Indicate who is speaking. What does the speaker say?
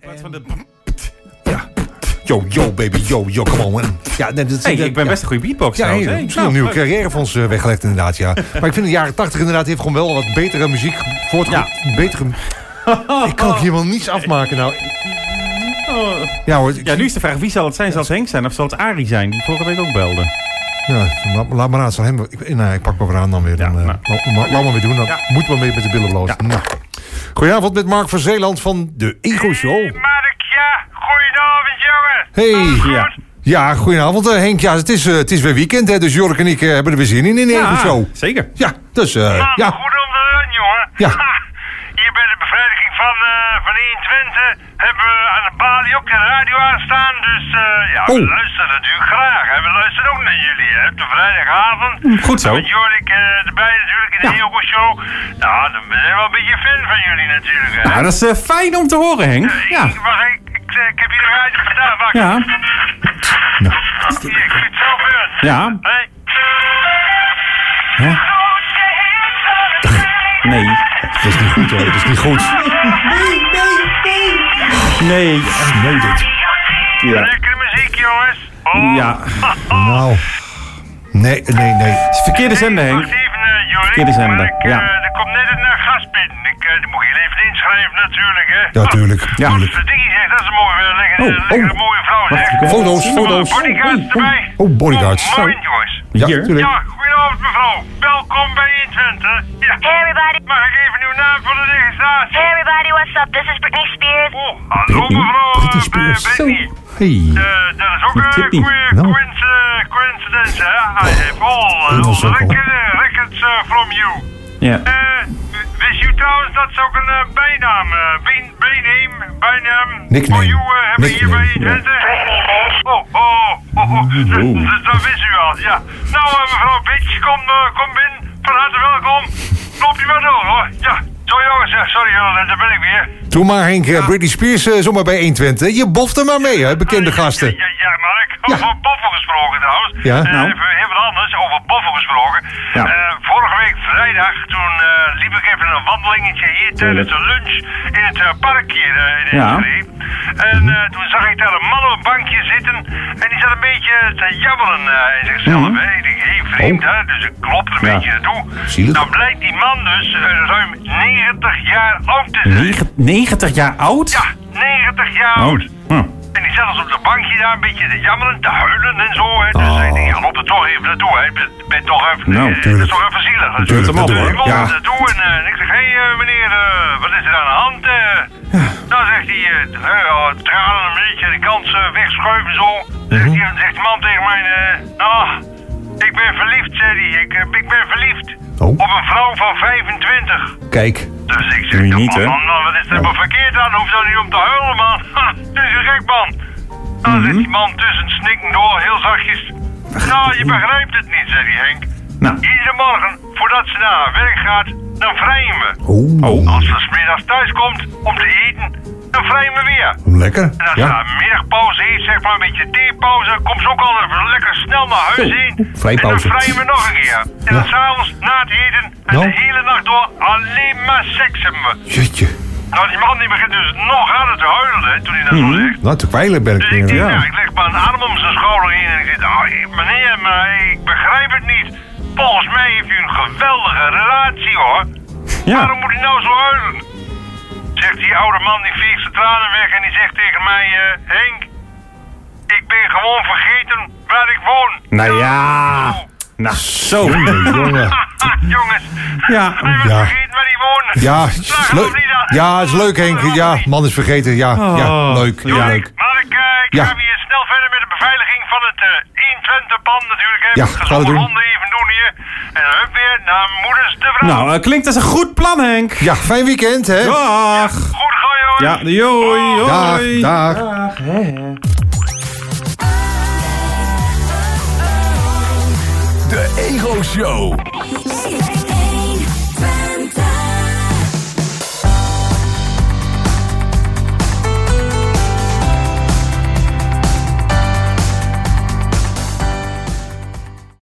Speaker 1: plaats van
Speaker 2: En-
Speaker 1: de...
Speaker 2: Ja. Yo, yo, baby, yo, yo, come on. man. Ja, nee, dat,
Speaker 1: Hey,
Speaker 2: dat-
Speaker 1: ik ben best een goede beatbox
Speaker 2: Ja,
Speaker 1: trouwens.
Speaker 2: hey,
Speaker 1: hè?
Speaker 2: misschien
Speaker 1: Nou,
Speaker 2: een nieuwe
Speaker 1: leuk.
Speaker 2: carrière voor ons eh, weggelegd inderdaad, ja. Maar ik vind de jaren 80 inderdaad heeft gewoon wel wat betere muziek voortge... Betere... Ik kan ook helemaal niets afmaken, nou.
Speaker 1: Oh.
Speaker 2: Ja hoor, ik-
Speaker 1: Ja, nu is de vraag, wie zal het zijn? Zal het Henk zijn of zal het Arie zijn? Die vorige week ook belde.
Speaker 2: Ja, laat, laat maar aan. het zal hem, ik, nou, ja, ik pak maar weer aan dan weer.
Speaker 1: Ja,
Speaker 2: Dan, eh,
Speaker 1: nou.
Speaker 2: laat, maar- laat maar weer doen. Dan
Speaker 1: Ja.
Speaker 2: moet maar mee met de billen blozen. Nou. Goedenavond met Mark van Zeeland van de Ego Show.
Speaker 3: Mark, ja, goedenavond
Speaker 2: Hey.
Speaker 3: jongen.
Speaker 1: Ja.
Speaker 2: Ja, goedenavond eh, Henk. Ja, het is, eh, het is weer weekend, hè, dus Jork en ik eh, hebben er weer zin in in de Ego Show.
Speaker 1: zeker.
Speaker 2: Ja, dus eh,
Speaker 3: Man,
Speaker 2: ja.
Speaker 3: goed om te horen jongen.
Speaker 2: Ja.
Speaker 3: Ha, hier bij de beveiliging van, eh van 120 hebben we aan de balie ook de radio aanstaan. Dus eh, ja, we
Speaker 2: Oh.
Speaker 3: luisteren natuurlijk graag. Hè. We luisteren ook naar jullie hè, op de vrijdagavond.
Speaker 1: Goed zo.
Speaker 3: Met Jorik eh, erbij natuurlijk in de
Speaker 1: Ja.
Speaker 3: Eeuwgo Show. Nou, dan ben ik wel een beetje fan van jullie natuurlijk. Hè.
Speaker 1: Nou, dat is eh, fijn om te horen, Henk. Ja.
Speaker 3: Ik, wacht, ik, ik, eh, ik heb hier een radio gedaan. Wacht.
Speaker 1: Ja.
Speaker 3: Hier, Ik moet het zo horen.
Speaker 1: Ja.
Speaker 3: Hey.
Speaker 1: Hè? Nee.
Speaker 2: Dat is niet goed hoor, dat is niet goed.
Speaker 1: Nee.
Speaker 2: Nee, dit.
Speaker 1: Ja.
Speaker 3: Lekkere muziek, jongens. Oh.
Speaker 1: Ja.
Speaker 2: Nou. Nee, nee, nee.
Speaker 1: Verkeerde zender,
Speaker 3: Wacht
Speaker 1: Henk.
Speaker 3: even, eh, Jorik.
Speaker 1: Verkeerde zender,
Speaker 3: maar ik, eh,
Speaker 1: ja.
Speaker 3: er komt net een eh, gast binnen. Ik, eh, die moet je even inschrijven, natuurlijk, hè. Oh,
Speaker 2: Ja, tuurlijk.
Speaker 1: Ja.
Speaker 2: tuurlijk.
Speaker 3: Verdien zegt, dat is een mooie, eh, lekkere,
Speaker 1: Oh, oh.
Speaker 3: lekkere mooie vrouw, zeg.
Speaker 1: Wacht, ik-
Speaker 2: Foto's,
Speaker 1: Oh,
Speaker 2: foto's.
Speaker 3: Bodyguards
Speaker 2: Oh, oh,
Speaker 3: erbij.
Speaker 2: oh, oh, bodyguards.
Speaker 3: Oh, mooi, jongens.
Speaker 2: Ja,
Speaker 1: Hier.
Speaker 2: tuurlijk.
Speaker 3: Ja, goedenavond mevrouw. Welkom bij Intwente. Ja.
Speaker 4: Everybody.
Speaker 3: Mag ik even uw naam voor de registratie?
Speaker 4: Hey everybody, what's up? This is Britney Spears.
Speaker 3: Oh, hallo
Speaker 1: Britney?
Speaker 3: mevrouw. eh,
Speaker 2: Britney Spears.
Speaker 3: Br- Britney.
Speaker 2: Hey.
Speaker 3: Eh, dat is ook
Speaker 1: Die
Speaker 3: een
Speaker 1: tikt niet.
Speaker 3: goede
Speaker 2: Nou.
Speaker 3: coinci- coincidence, hè? I have all
Speaker 2: Dat is
Speaker 3: uh,
Speaker 2: ook al.
Speaker 3: record, eh, records eh, from you.
Speaker 1: Ja.
Speaker 3: Eh, w- wist u trouwens dat ze ook een eh, bijnaam, eh bij, bijnaam, bijnaam
Speaker 2: Nickname.
Speaker 3: voor jou eh, hebben hier bij
Speaker 2: Nickname,
Speaker 3: je Oh, oh, oh, oh,
Speaker 1: Oh.
Speaker 3: Dus, dus dat wist u al, ja. Nou, eh, mevrouw Bitch, kom, eh, kom binnen. Van harte welkom. Loop je maar door, hoor. Ja, zo jongens, eh, sorry, eh, daar ben ik weer.
Speaker 2: Doe maar Henk, eh, Britney Spears eh, zomaar bij 120. Je boft er maar mee, hè, bekende gasten.
Speaker 3: Ja, ja, Mark.
Speaker 2: Ja.
Speaker 3: Over boffen gesproken trouwens.
Speaker 2: Ja,
Speaker 3: Eh,
Speaker 1: nou.
Speaker 3: Even heel wat anders. Over boffen gesproken.
Speaker 1: Ja.
Speaker 3: Eh, vorige week vrijdag, toen eh, liep ik even een wandelingetje hier tijdens de lunch in het eh, park hier eh, in
Speaker 1: Ja.
Speaker 3: Enschede. En eh, toen zag ik daar een man op een bankje zitten. En die zat een beetje te jammeren eh, in zichzelf.
Speaker 1: Mhm. Oh.
Speaker 3: hè. Ik denk, hé, vreemd hè. Dus ik klop er een
Speaker 1: Ja.
Speaker 3: beetje naartoe.
Speaker 2: Zielig.
Speaker 3: Dan blijkt die man dus eh, ruim 90 jaar oud te zijn.
Speaker 1: Negen- 90 jaar oud?
Speaker 3: Ja, 90 jaar oud.
Speaker 1: Oh.
Speaker 3: En die zat ons op de bankje daar een beetje te jammeren, te huilen en zo. Hè. Dus
Speaker 2: Oh.
Speaker 3: ik denk, ja, loop er toch even naartoe. Hè. Ik ben, ben toch even,
Speaker 1: Nou,
Speaker 3: eh,
Speaker 2: tuurlijk.
Speaker 3: dat is toch even zielig. natuurlijk.
Speaker 2: Tuurlijk, dat
Speaker 3: Dus
Speaker 2: doen we.
Speaker 3: Ik loop
Speaker 2: Ja.
Speaker 3: er naartoe en eh, en ik zeg, hé eh, meneer, eh, wat is er aan de hand? eh? Dan zegt hij, eh, eh, tranen een beetje aan de kant eh, wegschuiven zo. Zegt,
Speaker 2: Mhm.
Speaker 3: die, zegt de man tegen mij, eh, nou, ik ben verliefd, zei hij. Ik, eh, ik ben verliefd
Speaker 2: Oh.
Speaker 3: op een vrouw van 25.
Speaker 2: Kijk.
Speaker 3: Dus ik zeg,
Speaker 1: Doe je
Speaker 3: "Ja,
Speaker 1: niet, hè?
Speaker 3: man, man, wat is er maar verkeerd aan? Hoef dan niet om te huilen, man. Ha, Het is een gek, man. Dan
Speaker 1: Mhm.
Speaker 3: zit die man tussen snikken door, heel zachtjes. Nou, je begrijpt het niet, zei die Henk.
Speaker 1: Nou.
Speaker 3: Iedere morgen, voordat ze naar haar werk gaat, dan vrijen we.
Speaker 2: Oh,
Speaker 3: Als ze smiddags thuis komt om te eten, dan vrijen we weer.
Speaker 2: lekker.
Speaker 3: En als ze
Speaker 2: Ja.
Speaker 3: haar middagpauze heeft, zeg maar een beetje theepauze, komt ze ook altijd even lekker snel naar huis
Speaker 1: Zo,
Speaker 3: heen.
Speaker 2: vrijpauze.
Speaker 3: En dan vrijen we nog een keer. En dan s'avonds na het eten en
Speaker 2: Nou.
Speaker 3: de hele nacht door alleen maar seks hebben we.
Speaker 2: Jeetje.
Speaker 3: Nou, die man die begint dus nog harder te huilen, hè, toen hij dat zo zegt.
Speaker 2: Nou, te kwijlen ben ik
Speaker 3: Dus ik
Speaker 2: weer.
Speaker 3: denk,
Speaker 2: Ja.
Speaker 3: nou, ik leg maar een arm om zijn schouder heen en ik zeg, "Ah, meneer, maar ik begrijp het niet. Volgens mij heeft u een geweldige relatie, hoor. Waarom
Speaker 1: Ja.
Speaker 3: moet hij nou zo huilen? Zegt die oude man, die veegt zijn tranen weg en die zegt tegen mij, eh, Henk, ik ben gewoon vergeten waar ik woon.
Speaker 1: Nou
Speaker 2: Ah,
Speaker 1: ja. Nou, zo.
Speaker 2: Jongen, jongen.
Speaker 3: Ah, jongens,
Speaker 1: Ja.
Speaker 3: hij was
Speaker 2: Ja.
Speaker 3: vergeten waar hij woonde.
Speaker 2: Ja, is leuk. Ja, is leuk Henk. Ja, man is vergeten. Ja, ja
Speaker 1: Oh.
Speaker 2: leuk.
Speaker 1: Ja.
Speaker 2: Ja, leuk.
Speaker 3: Maar ik, eh, ik
Speaker 2: Ja.
Speaker 3: ga weer snel verder met de beveiliging van het eh 120-pand natuurlijk. Hè.
Speaker 2: Ja,
Speaker 3: Gezonde
Speaker 2: gaan we doen.
Speaker 3: honden even doen hier. En hup weer naar moeders de vrouw.
Speaker 1: Nou, eh, klinkt als een goed plan, Henk.
Speaker 2: Ja, fijn weekend, hè?
Speaker 1: Dag.
Speaker 3: Goed Oh, gaan
Speaker 1: Ja,
Speaker 3: jongens.
Speaker 1: joi,
Speaker 2: Dag,
Speaker 1: joi.
Speaker 2: dag.
Speaker 5: De Ego Show.
Speaker 6: Ego